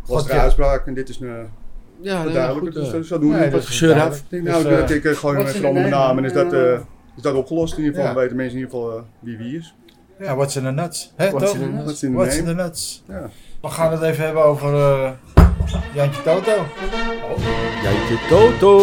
Speaker 1: lastige
Speaker 2: Godjé.
Speaker 1: uitspraak. En dit is een
Speaker 5: Ja, nou ja,
Speaker 1: duidelijk.
Speaker 5: goed.
Speaker 1: Dus
Speaker 5: eh.
Speaker 1: zo, zo doen we het.
Speaker 2: dat
Speaker 1: Ik
Speaker 2: is
Speaker 5: gezeur
Speaker 2: duidelijk.
Speaker 1: denk,
Speaker 2: Dus,
Speaker 1: nou,
Speaker 2: eh,
Speaker 1: dat ik eh, gewoon
Speaker 3: wat
Speaker 1: met
Speaker 3: zijn
Speaker 1: verander
Speaker 3: de
Speaker 1: mijn naam. En is dat,
Speaker 3: namen?
Speaker 1: eh, is dat opgelost in ieder geval?
Speaker 2: Ja.
Speaker 1: Dan weten mensen in ieder geval eh, wie wie is.
Speaker 2: Ja, what's in the nuts? Hè,
Speaker 5: What's
Speaker 2: toch?
Speaker 5: in the nuts?
Speaker 1: What's in the
Speaker 2: What's
Speaker 1: name?
Speaker 2: in the nuts?
Speaker 1: Ja.
Speaker 2: We gaan het even hebben over eh, Jantje Toto.
Speaker 5: Jantje Toto.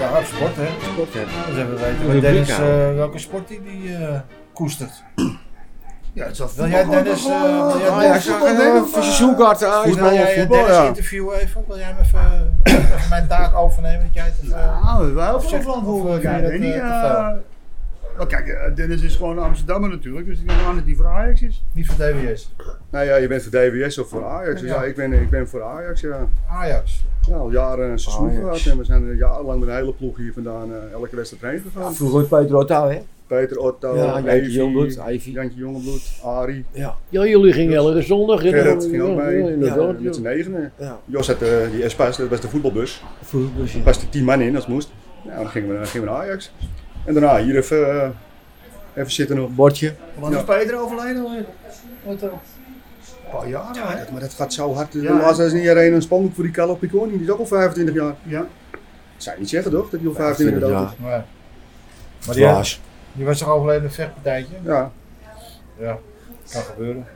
Speaker 2: Ja, op sport hè.
Speaker 5: Klopt, hè.
Speaker 2: Dus hebben we weten
Speaker 5: Rubriek
Speaker 2: Dennis eh,
Speaker 5: houden.
Speaker 2: welke sport die, die eh, koestert.
Speaker 3: Ja, het zal
Speaker 2: Wil jij Dennis, eh, wil jij
Speaker 5: Ah, ja,
Speaker 2: Dennis,
Speaker 5: ik zag een seizoenkaart. Ah, is
Speaker 2: eh, wil
Speaker 5: nou
Speaker 2: jij eh,
Speaker 5: voetbal,
Speaker 2: Dennis
Speaker 5: ja.
Speaker 2: interviewen even? Wil jij hem even, eh, even mijn taak overnemen? Dat jij het, eh,
Speaker 3: Nou, we hebben wel
Speaker 2: Of
Speaker 3: veel
Speaker 2: zeg-
Speaker 3: verantwoordelijkheid.
Speaker 2: of, eh,
Speaker 3: hè, die,
Speaker 2: vind je dat,
Speaker 3: eh, maar kijk, eh, Dennis is gewoon een Amsterdammer natuurlijk, dus ik neem aan dat hij voor Ajax is.
Speaker 2: niet voor DWS.
Speaker 1: Nou ja, je bent voor DWS of voor Ajax. Dus
Speaker 2: Ja.
Speaker 1: ja, ik, ben, ik ben voor Ajax, ja.
Speaker 2: Ajax.
Speaker 1: Ja, al jaren een seizoen
Speaker 5: Ajax.
Speaker 1: gehad en we zijn er jarenlang met een hele ploeg hier vandaan eh, elke wedstrijd heen gegaan.
Speaker 5: Vroeger met Peter Otto, hè?
Speaker 1: Peter Otto,
Speaker 5: Ja, Jantje
Speaker 1: Evi,
Speaker 5: Jongbloed, Ivy.
Speaker 1: Jantje Jongebloed, Ari,
Speaker 4: Ja, jullie gingen elke zondag. hè?
Speaker 1: Gerrit ging ook mee.
Speaker 4: Ja, inderdaad.
Speaker 1: eh, met z'n
Speaker 4: ja.
Speaker 1: negenen.
Speaker 5: Ja.
Speaker 1: Jos had eh, die Espas, dat was de voetbalbus.
Speaker 5: Vroeger dus, ja.
Speaker 1: Daar paste tien man in als het moest. Nou, dan gingen we, dan gingen we naar Ajax. En daarna hier even, eh, even zitten nog.
Speaker 5: Bordje.
Speaker 3: Want is Peter overleden alweer? Wat, eh, Een paar jaar,
Speaker 1: Ja,
Speaker 3: hè?
Speaker 1: dat- maar dat gaat zo hard.
Speaker 3: Ja.
Speaker 1: Laatst is niet alleen een spandoek voor die Carlo Picconi, die is ook al 25 jaar.
Speaker 3: Ja.
Speaker 1: Dat zou je niet zeggen toch, dat hij al 25 jaar oud is?
Speaker 2: Maar, maar die,
Speaker 5: Klaas.
Speaker 2: die was toch overleden in een vechtpartijtje?
Speaker 1: Ja,
Speaker 2: Ja, kan gebeuren.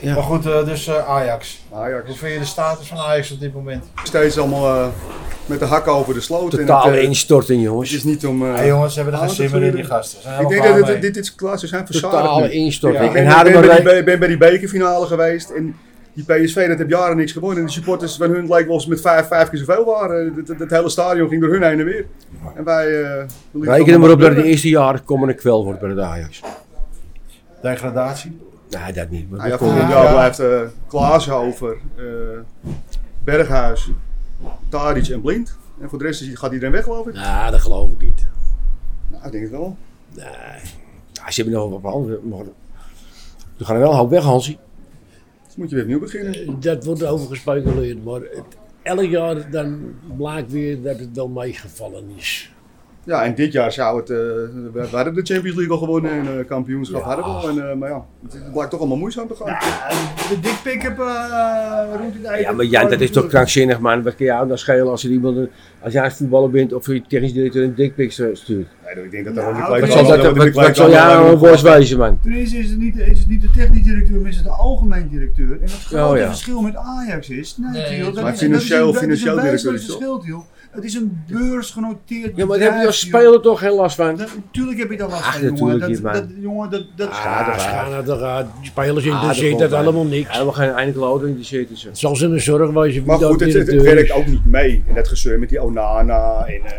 Speaker 5: Ja.
Speaker 2: Maar goed, eh, dus eh, Ajax.
Speaker 1: Ajax.
Speaker 2: Hoe vind je de status van Ajax op dit moment?
Speaker 1: steeds allemaal eh, met de hakken over de sloot. En het,
Speaker 5: Totale
Speaker 1: eh,
Speaker 5: instorting,
Speaker 1: het is
Speaker 5: jongens.
Speaker 1: niet om. eh,
Speaker 2: Hey jongens, ze hebben er geen
Speaker 1: Ah, dat
Speaker 2: zin meer in
Speaker 1: vind
Speaker 2: die
Speaker 1: ik-
Speaker 2: gasten. Ze Zijn
Speaker 1: ik denk
Speaker 2: helemaal
Speaker 1: dat
Speaker 2: klaar
Speaker 1: dit,
Speaker 2: mee.
Speaker 1: dit is klaar. Ze zijn
Speaker 5: Totale
Speaker 1: verzadigd. nu.
Speaker 5: instorting.
Speaker 1: Ik
Speaker 5: En
Speaker 1: ben, ben,
Speaker 5: Hardenberg-
Speaker 1: bij die, ben bij die bekerfinale geweest en die PSV dat heb jaren niks gewonnen. En de supporters van hun lijkt wel of ze met vijf, vijf keer zoveel waren. Dat, dat- dat hele stadion ging door hun heen en weer. En wij. eh, we lieten
Speaker 5: Reken er
Speaker 1: allemaal
Speaker 5: maar op dat het de
Speaker 1: gebeuren.
Speaker 5: eerste jaar komende kwel wordt bij de Ajax.
Speaker 2: Degradatie.
Speaker 5: Nee, dat niet. maar
Speaker 1: Nou ja,
Speaker 5: dat
Speaker 1: volgend
Speaker 5: komt-
Speaker 1: jaar
Speaker 2: Ja.
Speaker 1: blijft eh Klaashover, eh, Berghuis, Tadic en Blind. En voor de rest is- gaat iedereen weg, geloof ik.
Speaker 5: Nou, dat geloof ik niet.
Speaker 1: Nou, ik denk het wel.
Speaker 5: Nee. Ja, ze hebben nog wat andere. Maar... We gaan er wel een hoop weg, Hansie.
Speaker 1: Dus moet je weer opnieuw beginnen.
Speaker 4: Dat wordt over gespeculeerd, maar het- elk jaar dan blijkt weer dat het wel meegevallen is.
Speaker 1: Ja, en dit jaar zou het. eh, we, we hadden de Champions League al gewonnen en eh, kampioenschap hadden we al. En, eh, maar ja, het, het blijkt toch allemaal moeizaam te gaan.
Speaker 3: De dikpik heb eh rond het eind.
Speaker 5: Ja, maar Jan, dat is toch krankzinnig, man. Wat kan jou dan schelen als, er iemand, een- als jij voetballer bent of je technisch directeur een dikpik stuurt?
Speaker 1: Nee, ik denk dat daar
Speaker 3: Nou,
Speaker 1: ook de
Speaker 5: Wat
Speaker 3: Ja,
Speaker 5: zal,
Speaker 3: maar
Speaker 5: dat,
Speaker 1: kleine-
Speaker 5: wat,
Speaker 1: de
Speaker 5: wat
Speaker 1: kleine-
Speaker 5: zal jou nou een worst wezen, man?
Speaker 3: Ten eerste is het, niet, is het niet de technisch directeur, maar is het de algemeen directeur. En het grote
Speaker 5: Oh, ja.
Speaker 3: verschil met Ajax is. Nee,
Speaker 2: Nee,
Speaker 3: Tiel, dat
Speaker 1: maar
Speaker 3: is,
Speaker 1: financieel-
Speaker 3: dat is een, dat is
Speaker 1: financieel
Speaker 3: een
Speaker 1: directeur is
Speaker 3: wijselijk verschil, Tiel. Het is een beursgenoteerd
Speaker 5: Ja, maar daar
Speaker 3: bedrijf,
Speaker 5: heb je als
Speaker 3: Tiel.
Speaker 5: speler toch geen last van?
Speaker 3: Natuurlijk heb je daar last
Speaker 5: Ach,
Speaker 3: van, jongen.
Speaker 5: natuurlijk
Speaker 3: Dat,
Speaker 5: niet, man.
Speaker 3: dat, jongen, dat, dat
Speaker 5: Ah, dat is waar.
Speaker 4: Gaan het eruit, die spelers
Speaker 5: komt
Speaker 4: interesseert dat
Speaker 5: bij.
Speaker 4: allemaal niks.
Speaker 5: Helemaal geen enkele auto in de zitten ze.
Speaker 4: Het zal ze een zorg wezen wie
Speaker 1: Maar
Speaker 4: dat dus.
Speaker 1: goed, het, het- het
Speaker 4: directeur is.
Speaker 1: werkt ook niet mee. En dat gezeur met die Onana. En, eh,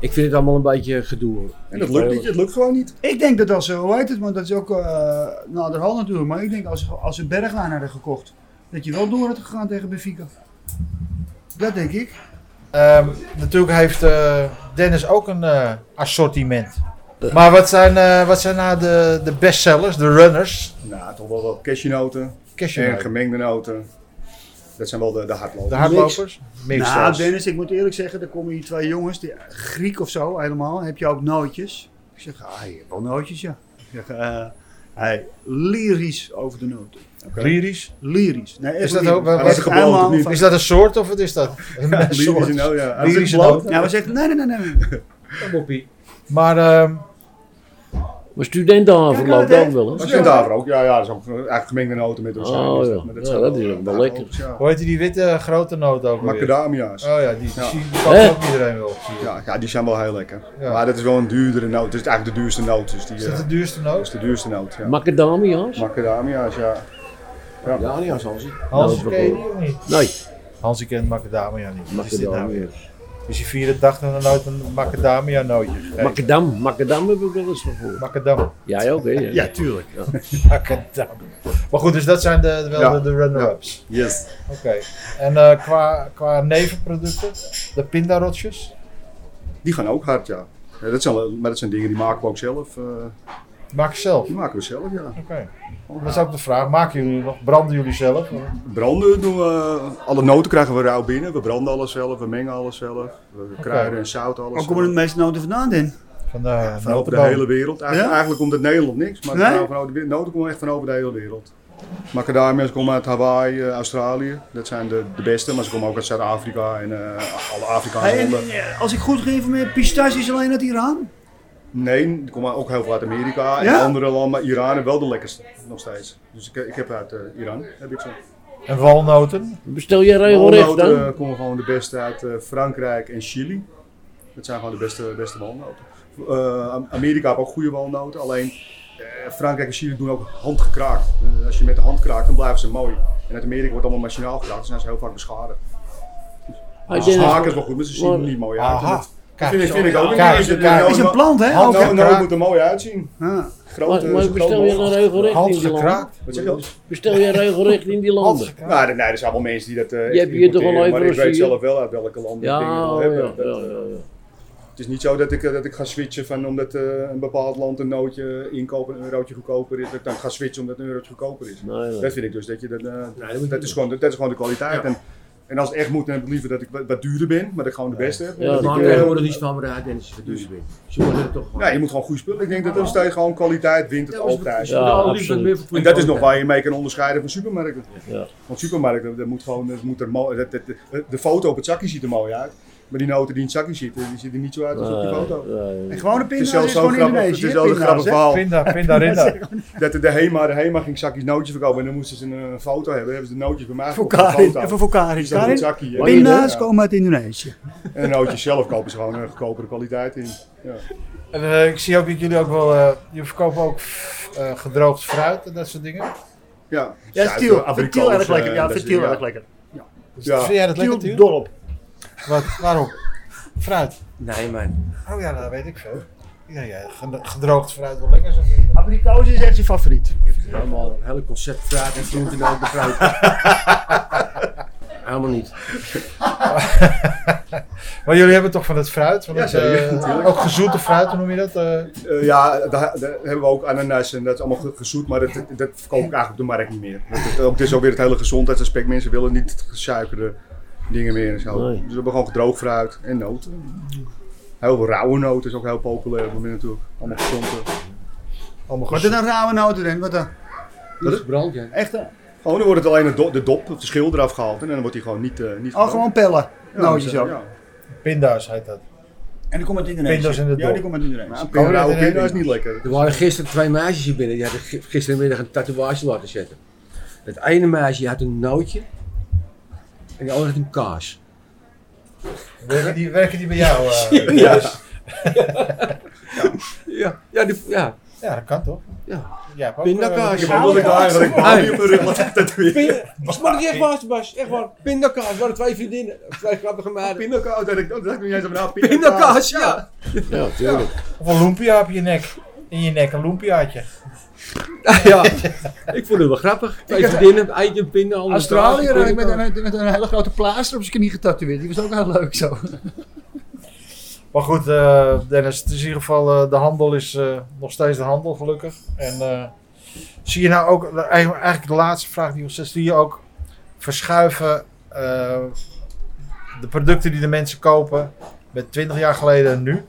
Speaker 5: Ik vind het allemaal een beetje gedoe. hoor.
Speaker 1: en dat lukt niet, het lukt gewoon niet.
Speaker 3: Ik denk dat als ze, hoe heet het, want dat is ook eh nou, de hand natuurlijk, maar ik denk als, ze- als ze Bergwijn hadden gekocht, dat je wel door had gegaan tegen Benfica. Dat denk ik.
Speaker 2: Ehm, natuurlijk heeft eh, Dennis ook een eh, assortiment. Maar wat zijn, eh, wat zijn nou de, de bestsellers, de runners?
Speaker 1: Nou, toch wel wel cashewnoten
Speaker 2: Cashew
Speaker 1: en
Speaker 2: noten.
Speaker 1: gemengde noten. Dat zijn wel de, de hardlopers.
Speaker 2: De hardlopers? Mix
Speaker 3: Nou,
Speaker 2: zelfs.
Speaker 3: Dennis, ik moet eerlijk zeggen, er komen hier twee jongens, die, Griek of zo helemaal. Heb je ook nootjes? Ik zeg, ah, je hebt wel nootjes, ja. Ik zeg, eh, hij lyrisch over de noten.
Speaker 2: Lyrisch?
Speaker 3: Lyrisch. Nee, echt
Speaker 2: Is dat
Speaker 3: lyrisch.
Speaker 2: ook- waar-
Speaker 3: Hij
Speaker 2: waar-
Speaker 3: zegt
Speaker 1: geboren of
Speaker 3: helemaal
Speaker 1: niet?
Speaker 3: van-
Speaker 2: Is dat een soort of wat is dat? Een soort.
Speaker 1: Lyrische noot, ja.
Speaker 2: Lyrische
Speaker 1: Hij
Speaker 2: noot.
Speaker 3: Nou, hij zegt, nee, nee, nee, nee.
Speaker 5: Boppie.
Speaker 2: Maar ehm,
Speaker 4: Maar studentenhaven
Speaker 3: Kijk,
Speaker 4: loopt
Speaker 3: dat-
Speaker 4: ook wel eens.
Speaker 1: Dat zijn daar ook. Ja, ja, dat is ook eh, eigenlijk gemengde noten met rozijn.
Speaker 4: Oh,
Speaker 1: is
Speaker 4: ja.
Speaker 1: Maar
Speaker 4: Ja,
Speaker 1: zijn
Speaker 4: dat is ook wel lekker.
Speaker 1: hardlopers, ja.
Speaker 2: hoe heet die, die witte eh, grote noot ook alweer?
Speaker 1: Macadamia's.
Speaker 2: Oh ja, die, die,
Speaker 1: Ja.
Speaker 2: die pakt
Speaker 4: Hè?
Speaker 2: ook iedereen wel. zie je.
Speaker 1: Ja, ja, die zijn wel heel lekker.
Speaker 2: Ja.
Speaker 1: Maar dat is wel een duurdere noot. Het is eigenlijk de duurste noot. Dus die,
Speaker 2: Is
Speaker 1: eh,
Speaker 2: dat de duurste
Speaker 1: dat is
Speaker 2: noot?
Speaker 1: de duurste noot. Ja.
Speaker 4: Macadamia's?
Speaker 1: Macadamia's, ja.
Speaker 5: Ja, niet als als.
Speaker 2: Hans,
Speaker 4: Noot
Speaker 2: ken je die of niet?
Speaker 4: Nee,
Speaker 2: Hansie kent macadamia niet. Wat is dit nou weer?
Speaker 4: macadamia's.
Speaker 2: Dus je vierde dag dan nooit een macadamia nootje gegeten.
Speaker 4: Macadam, macadam heb ik wel eens van gehoord.
Speaker 2: Macadam.
Speaker 4: Jij ook, hè?
Speaker 3: Ja, tuurlijk.
Speaker 2: Macadam. Maar goed, dus dat zijn de, wel
Speaker 1: Ja.
Speaker 2: de, de runner-ups.
Speaker 1: Yes.
Speaker 2: Oké. En eh, qua, qua nevenproducten, de pindarotjes.
Speaker 1: Die gaan ook hard, ja. ja dat zijn, wel- maar dat zijn dingen die maken we ook zelf. eh,
Speaker 2: Maak je zelf.
Speaker 1: die maken we zelf, ja.
Speaker 2: Oké. Dat is ook de vraag. Maken jullie nog? Branden jullie zelf?
Speaker 1: Branden doen we. Alle noten krijgen we rauw binnen. We branden alles zelf, we mengen alles zelf. We kruiden en zout alles
Speaker 3: Waar komen de
Speaker 1: zelf.
Speaker 3: meeste noten vandaan, Den?
Speaker 2: Van de,
Speaker 1: Van over de hele wereld. Eigenlijk,
Speaker 3: Ja?
Speaker 1: eigenlijk komt het Nederland niks, maar
Speaker 3: Nee?
Speaker 1: de van over de, noten komen echt van over de hele wereld. Macadamia's komen uit Hawaii, eh, Australië. Dat zijn de, de beste, maar ze komen ook uit Zuid-Afrika en eh, alle Afrikaanse
Speaker 3: Hey, en,
Speaker 1: landen.
Speaker 3: eh, als ik goed geïnformeerd, pistache is alleen uit Iran.
Speaker 1: Nee, er komen ook heel veel uit Amerika en
Speaker 3: Ja?
Speaker 1: andere landen, maar Iran is wel de lekkerste nog steeds. Dus ik, ik heb uit eh, Iran, heb ik zo.
Speaker 2: En walnoten.
Speaker 4: Bestel je regelrecht
Speaker 1: Walnoten
Speaker 4: dan?
Speaker 1: eh, komen gewoon de beste uit eh, Frankrijk en Chili. Dat zijn gewoon de beste, beste walnoten. Eh, Am- Amerika heeft ook goede walnoten, alleen eh, Frankrijk en Chili doen ook handgekraakt. Eh, als je met de hand kraakt, dan blijven ze mooi. En uit Amerika wordt allemaal machinaal gekraakt, dus dan zijn ze heel vaak beschadigd.
Speaker 4: Hij
Speaker 1: Ze
Speaker 4: denkt-
Speaker 1: smaken is wel goed, maar ze zien er niet mooi uit. En
Speaker 2: Aha.
Speaker 1: dat
Speaker 2: Kijk,
Speaker 1: vind, ik- vind ik ook.
Speaker 2: Kijk,
Speaker 1: niet. Dus, eh,
Speaker 2: kijk.
Speaker 1: noot-
Speaker 3: Is een plant, hè?
Speaker 2: Hand-
Speaker 3: Ook,
Speaker 1: noot-
Speaker 3: hè?
Speaker 1: noot nou, moet er mooi uitzien.
Speaker 3: Ja.
Speaker 1: Groot,
Speaker 4: Maar,
Speaker 1: eh,
Speaker 4: maar
Speaker 1: zo'n groot
Speaker 4: bestel je dan
Speaker 1: mogelijk.
Speaker 4: regelrecht in die landen?
Speaker 2: Handgekraakt.
Speaker 1: Wat zeg je dan?
Speaker 4: Bestel je regelrecht in die landen?
Speaker 2: Handgekraakt.
Speaker 1: Nou, nee, er zijn wel mensen die dat eh
Speaker 4: Je hebt hier toch wel
Speaker 1: importeren, maar ik
Speaker 4: overal
Speaker 1: weet
Speaker 4: zie je.
Speaker 1: zelf wel uit welke landen ik dingen
Speaker 4: Ja,
Speaker 1: wil
Speaker 4: oh,
Speaker 1: hebben.
Speaker 4: ja,
Speaker 1: Dat,
Speaker 4: ja,
Speaker 1: eh,
Speaker 4: ja, ja.
Speaker 1: Het is niet zo dat ik, eh, dat ik ga switchen van omdat eh, een bepaald land een nootje inkopen, een eurotje goedkoper is, dat ik dan ga switchen omdat een eurotje goedkoper is.
Speaker 4: Nee, nee.
Speaker 1: Dat vind ik dus dat je dat, eh,
Speaker 5: dat moet
Speaker 1: dat, is gewoon, dat is gewoon de kwaliteit. En, en als het echt moet, dan heb ik liever dat ik wat, wat duurder ben, maar dat ik gewoon de beste heb.
Speaker 4: Ja,
Speaker 1: Dat
Speaker 4: dat
Speaker 1: ik,
Speaker 5: Maar
Speaker 4: kan
Speaker 1: eh,
Speaker 5: tegenwoordig is het wel weer uit en is het dus weer. Ze worden het toch gewoon.
Speaker 1: ja, je moet gewoon goed spullen. Ik denk dat nog steeds gewoon kwaliteit wint het altijd.
Speaker 4: Ja, absoluut.
Speaker 1: En dat is nog waar je mee kan onderscheiden van supermarkten.
Speaker 4: Ja.
Speaker 1: Want supermarkten, dat moet gewoon, dat moet er mooi, dat, dat- de foto op het zakje ziet er mooi uit. Maar die noten die in het zakje zitten, die ziet er niet zo uit als op die foto.
Speaker 4: Nee,
Speaker 3: En
Speaker 4: nee.
Speaker 1: Het
Speaker 3: gewone
Speaker 1: is
Speaker 3: pinda's is
Speaker 1: zelfs zo'n
Speaker 3: gewoon
Speaker 1: grappig, het
Speaker 3: Indonesië.
Speaker 1: is zelfs een grappig
Speaker 3: pinda's, hè?
Speaker 1: verhaal.
Speaker 2: Pinda, pindarinda.
Speaker 1: Dat de HEMA, de HEMA ging zakjes nootjes verkopen en dan moesten ze een, eh, foto hebben. Hebben ze de nootjes bij mij
Speaker 3: Voor
Speaker 1: gekocht, een
Speaker 3: Karin.
Speaker 1: foto.
Speaker 3: Even voor Karin.
Speaker 1: Die staan in het
Speaker 3: Karin,
Speaker 1: zakje. Ja.
Speaker 3: Pinda's
Speaker 1: Ja.
Speaker 3: komen uit Indonesië.
Speaker 1: En de nootjes zelf kopen ze gewoon een goedkopere kwaliteit in. Ja.
Speaker 2: En, eh, ik zie ook dat jullie ook wel, eh jullie verkopen ook eh, gedroogd fruit en dat soort dingen.
Speaker 1: Ja,
Speaker 3: Ja,
Speaker 1: Zuid-
Speaker 3: Tiel.
Speaker 1: Afrikaans,
Speaker 3: Tiel erg
Speaker 1: eh,
Speaker 3: lekker. Ja,
Speaker 1: dat is-
Speaker 3: Tiel erg lekker.
Speaker 1: Ja.
Speaker 2: Dus Vind jij dat lekker,
Speaker 3: Tiel
Speaker 2: Tiel?
Speaker 3: dol op.
Speaker 2: Wat, waarom? Fruit.
Speaker 5: Nee, man.
Speaker 2: Oh ja, dat weet ik veel. Ja, ja, ged- gedroogd fruit wel lekker. zo vind ik dat.
Speaker 3: Abrikoos is echt zijn favoriet.
Speaker 5: Helemaal een hele concept fruit en groenten ook de fruit. nou Helemaal niet.
Speaker 2: Maar jullie hebben toch van het fruit? Van
Speaker 1: Ja,
Speaker 2: het,
Speaker 1: zeker,
Speaker 2: eh,
Speaker 1: natuurlijk.
Speaker 2: ook gezoete fruit, hoe noem je dat? eh?
Speaker 1: Eh, ja, daar, daar hebben we ook ananas en dat is allemaal ge- gezoet, maar dat, dat verkoop ik eigenlijk op de markt niet meer. Dat, dat- ook, het is ook weer het hele gezondheidsaspect. Mensen willen niet gesuikerde dingen meer en zo.
Speaker 4: Nee.
Speaker 1: Dus we hebben gewoon gedroogd fruit en noten. Heel veel rauwe noten is ook heel populair op het moment natuurlijk. Allemaal gezond. eh.
Speaker 2: allemaal
Speaker 3: Wat
Speaker 2: goed.
Speaker 3: is een rauwe noten in? Wat dan?
Speaker 5: Dat is brand, ja.
Speaker 3: Echt? eh,
Speaker 1: Gewoon, dan Oh, wordt het alleen de, do- de dop of de schil eraf gehaald en dan wordt die gewoon niet, eh niet
Speaker 3: Oh, gewoon pellen.
Speaker 1: gedroogd. Ja,
Speaker 3: Nootjes
Speaker 1: dus, eh,
Speaker 3: ook.
Speaker 1: Ja.
Speaker 2: Pinda's heet dat.
Speaker 3: En die komt uit
Speaker 2: Pinda's
Speaker 3: Indonesië.
Speaker 2: in de
Speaker 3: Ja, die
Speaker 2: dop.
Speaker 3: komt uit Indonesië.
Speaker 1: Een rauwe
Speaker 2: erin.
Speaker 1: pinda is niet lekker.
Speaker 5: Er waren gisteren twee meisjes hier binnen. Die hadden gi- gisterenmiddag een tatoeage laten zetten. Het ene meisje had een nootje. En de andere had een kaas.
Speaker 2: Werken die, werken die bij jou? eh?
Speaker 5: Ja, ja, die, ja.
Speaker 2: ja, dat kan toch?
Speaker 5: Ja.
Speaker 2: Jij hebt ook,
Speaker 5: Pindakaas.
Speaker 2: eh,
Speaker 1: Ik heb wel dat ik daar eigenlijk Bali op mijn rug laat tatoeëren.
Speaker 5: Smaakt echt waar, Bas. Echt waar. Pindakaas. We hadden twee vriendinnen. Twee grappige meiden.
Speaker 1: Pindakaas, dat ik dat ik niet eens op na
Speaker 5: Pindakaas, ja.
Speaker 4: Ja, tuurlijk.
Speaker 2: Of een lumpia op je nek. In je nek, een lumpiaatje.
Speaker 5: ja. Ik vond het wel grappig. Twee vriendinnen. Eindje een pinda. ander
Speaker 3: Australië
Speaker 5: een
Speaker 3: raak ik met,
Speaker 5: pindakaas.
Speaker 3: met, met een hele grote plaaster op zijn knie getatoeëerd. Die was ook heel leuk zo.
Speaker 2: Maar goed, eh, Dennis, het is in ieder geval, eh, de handel is eh, nog steeds de handel, eh, gelukkig. En eh, zie je nou ook, eigenlijk eigenlijk de laatste vraag die ons zegt, zie je ook verschuiven eh, de producten die de mensen kopen met 20 jaar geleden en nu.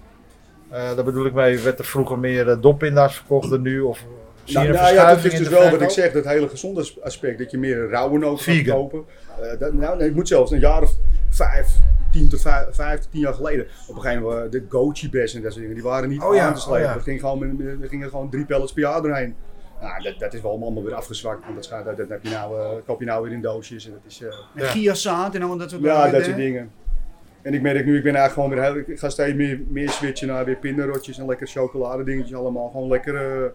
Speaker 2: Eh, daar bedoel ik mee, werd er vroeger meer eh, doppinda's verkocht dan nu? Of zie je
Speaker 1: Nou,
Speaker 2: een
Speaker 1: nou ja, dat
Speaker 2: verschuiving
Speaker 1: is
Speaker 2: in
Speaker 1: dus
Speaker 2: de
Speaker 1: wel wat
Speaker 2: verkoop?
Speaker 1: ik zeg, dat hele gezondheidsaspect, dat je meer rauwe noten gaat
Speaker 2: Vegan.
Speaker 1: kopen. Eh, dat, nou, nee, ik moet zelfs een jaar of vijf, tien tot vijf, vijf tot tien jaar geleden, op een gegeven moment eh, de goji best en dat soort dingen, die waren niet
Speaker 2: Oh ja,
Speaker 1: aan te slepen.
Speaker 2: oh ja.
Speaker 1: Er gingen gewoon, met- er gingen gewoon drie pellets per jaar doorheen. Nou, dat, dat is wel allemaal weer afgezwakt, want dat, schijnt- dat, dat heb je nou, eh, koop je nou weer in doosjes en dat is... eh,
Speaker 3: En
Speaker 2: Ja.
Speaker 3: Giazaad en allemaal dat soort
Speaker 1: ja,
Speaker 3: dingen,
Speaker 1: dat
Speaker 3: hè?
Speaker 1: soort dingen. En ik merk nu, ik ben eigenlijk gewoon weer heel, ik ga steeds meer, meer switchen naar weer pindarotjes en lekker chocoladedingetjes allemaal. Gewoon lekkere,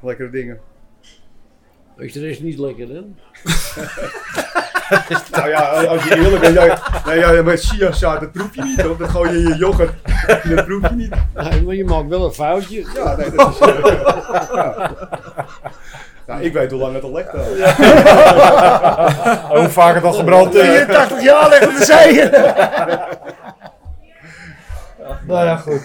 Speaker 1: lekkere dingen.
Speaker 4: Is de rest niet lekker dan?
Speaker 1: Nou ja, als je eerlijk bent, jij, nee, jij met chiazaad, dat proef je niet hoor. Dat gooi je in je yoghurt, dat proef je niet.
Speaker 4: Nee, maar je maakt wel een foutje.
Speaker 1: Ja, nee, dat is... eh, ja. Nou, ik weet hoe lang het al lekt. eh.
Speaker 2: Oh, hoe vaak het al gebrand
Speaker 1: eh,
Speaker 2: eh? is.
Speaker 3: 83 jaar leggen we zeker.
Speaker 2: Nou ja, goed.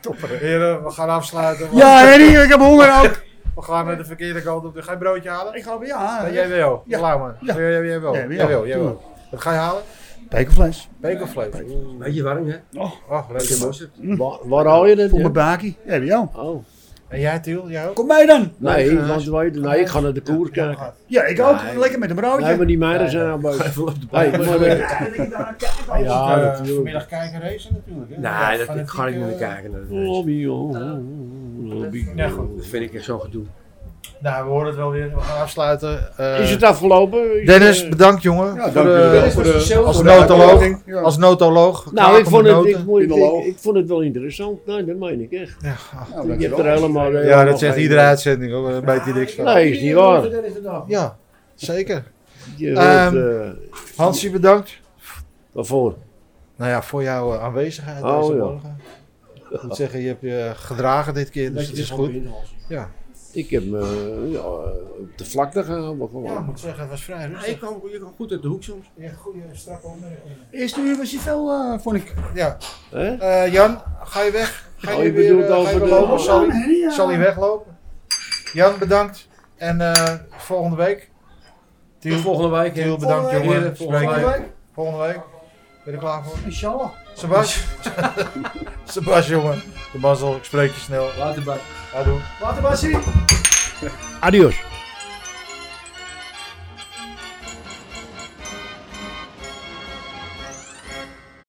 Speaker 2: Topper. Heren, we gaan afsluiten. want
Speaker 3: Ja, Henny, ik heb honger ook.
Speaker 2: We gaan naar de verkeerde kant op. Dus Ga je broodje halen?
Speaker 3: Ik ga, ja.
Speaker 2: Nee, jij wil.
Speaker 3: Ja.
Speaker 2: Laat maar.
Speaker 3: Ja.
Speaker 2: Jij, jij, jij wil.
Speaker 3: Ja, ja.
Speaker 2: Jij wil. Jij
Speaker 3: Doe
Speaker 2: wil. Wat ga je halen?
Speaker 3: Pekelvlees.
Speaker 2: Beek of vlees? Oeh.
Speaker 5: Beetje warm, hè?
Speaker 2: Oh, leuk
Speaker 5: Beetje
Speaker 2: man.
Speaker 5: mosterd.
Speaker 4: Waar, waar haal je dat?
Speaker 3: Voor mijn
Speaker 4: ja?
Speaker 3: bakie. Heb je al.
Speaker 4: Oh.
Speaker 2: En jij, Tiel? Jij ook?
Speaker 3: Kom mee dan.
Speaker 4: Nee, want wij, nee, ik ga naar de koers kijken.
Speaker 3: Ja, ik ook. Lekker met een
Speaker 4: Nee,
Speaker 3: broodje.
Speaker 4: maar die meiden zijn aan boven.
Speaker 5: Even op de
Speaker 4: Nee, maar, eh, ja,
Speaker 2: Eh,
Speaker 4: natuurlijk.
Speaker 2: vanmiddag kijken racen natuurlijk. hè? Ja,
Speaker 5: Nee, dat ik
Speaker 2: fanatiek,
Speaker 5: ga ik niet
Speaker 2: eh,
Speaker 5: meer kijken. naar de race.
Speaker 4: Lobby, oh, lobby.
Speaker 2: Ja, goed.
Speaker 5: Dat vind ik echt zo'n gedoe.
Speaker 2: Nou, we horen het wel weer. We gaan afsluiten. Eh,
Speaker 4: Is het afgelopen? Is
Speaker 2: Dennis,
Speaker 4: het, eh,
Speaker 2: bedankt jongen.
Speaker 1: Ja,
Speaker 2: voor
Speaker 1: dank jullie wel
Speaker 2: de,
Speaker 1: voor de...
Speaker 2: als
Speaker 1: voor de
Speaker 2: notoloog.
Speaker 1: uitnodiging. Ja.
Speaker 2: Als notoloog.
Speaker 4: nou, ik
Speaker 2: Kraken
Speaker 4: vond,
Speaker 2: met
Speaker 4: het, ik,
Speaker 2: noten.
Speaker 4: moet-
Speaker 1: in de loop.
Speaker 4: ik, ik vond het wel interessant. Nee, dat meen ik echt.
Speaker 2: Ja, ah.
Speaker 1: Nou,
Speaker 4: Je hebt
Speaker 1: dankjewel.
Speaker 4: er helemaal... eh,
Speaker 2: Ja,
Speaker 4: helemaal
Speaker 2: dat zegt
Speaker 4: geen-
Speaker 2: iedere uitzending hoor. Daar weet hij niks van.
Speaker 4: Nee, is niet waar.
Speaker 2: Ja, zeker.
Speaker 4: Je hoort, eh,
Speaker 2: Hansie, bedankt.
Speaker 4: Waarvoor?
Speaker 2: Nou ja, voor jouw eh, aanwezigheid
Speaker 4: Oh,
Speaker 2: deze
Speaker 4: ja.
Speaker 2: morgen. Ik moet zeggen, je hebt je gedragen dit keer, dus dat is goed.
Speaker 4: Ik heb me ja, op de vlakte gehouden.
Speaker 2: Ja, ik
Speaker 4: Gewoon.
Speaker 2: moet zeggen, het was vrij
Speaker 5: Nou, Je
Speaker 2: rustig.
Speaker 5: kwam, je kwam goed uit de hoek soms.
Speaker 2: Ja, goede strakke opmerking.
Speaker 3: Eerste uur was je veel, eh, vond ik.
Speaker 2: Ja,
Speaker 4: Hè?
Speaker 2: eh, Jan, ga je weg? Ga je,
Speaker 4: Oh, je
Speaker 2: weer, eh,
Speaker 4: bedoelt
Speaker 2: ga je
Speaker 4: over
Speaker 2: weer
Speaker 4: de-
Speaker 2: lopen? Zal, hij-
Speaker 3: Henny, ja.
Speaker 2: zal hij weglopen? Jan, bedankt. En eh, volgende week.
Speaker 5: Tot
Speaker 2: Tiel,
Speaker 5: volgende week. hè.
Speaker 2: Tiel bedankt
Speaker 5: Volgende
Speaker 2: jongen.
Speaker 5: week. Volgende
Speaker 2: Spreek je.
Speaker 5: week.
Speaker 2: Volgende week. Ben je er klaar voor?
Speaker 3: Inshallah.
Speaker 2: Sebas. Sebas, jongen. De mazzel, ik spreek je snel.
Speaker 5: Later, bye.
Speaker 2: Adieu.
Speaker 3: Laten we maar zien.
Speaker 4: Adios.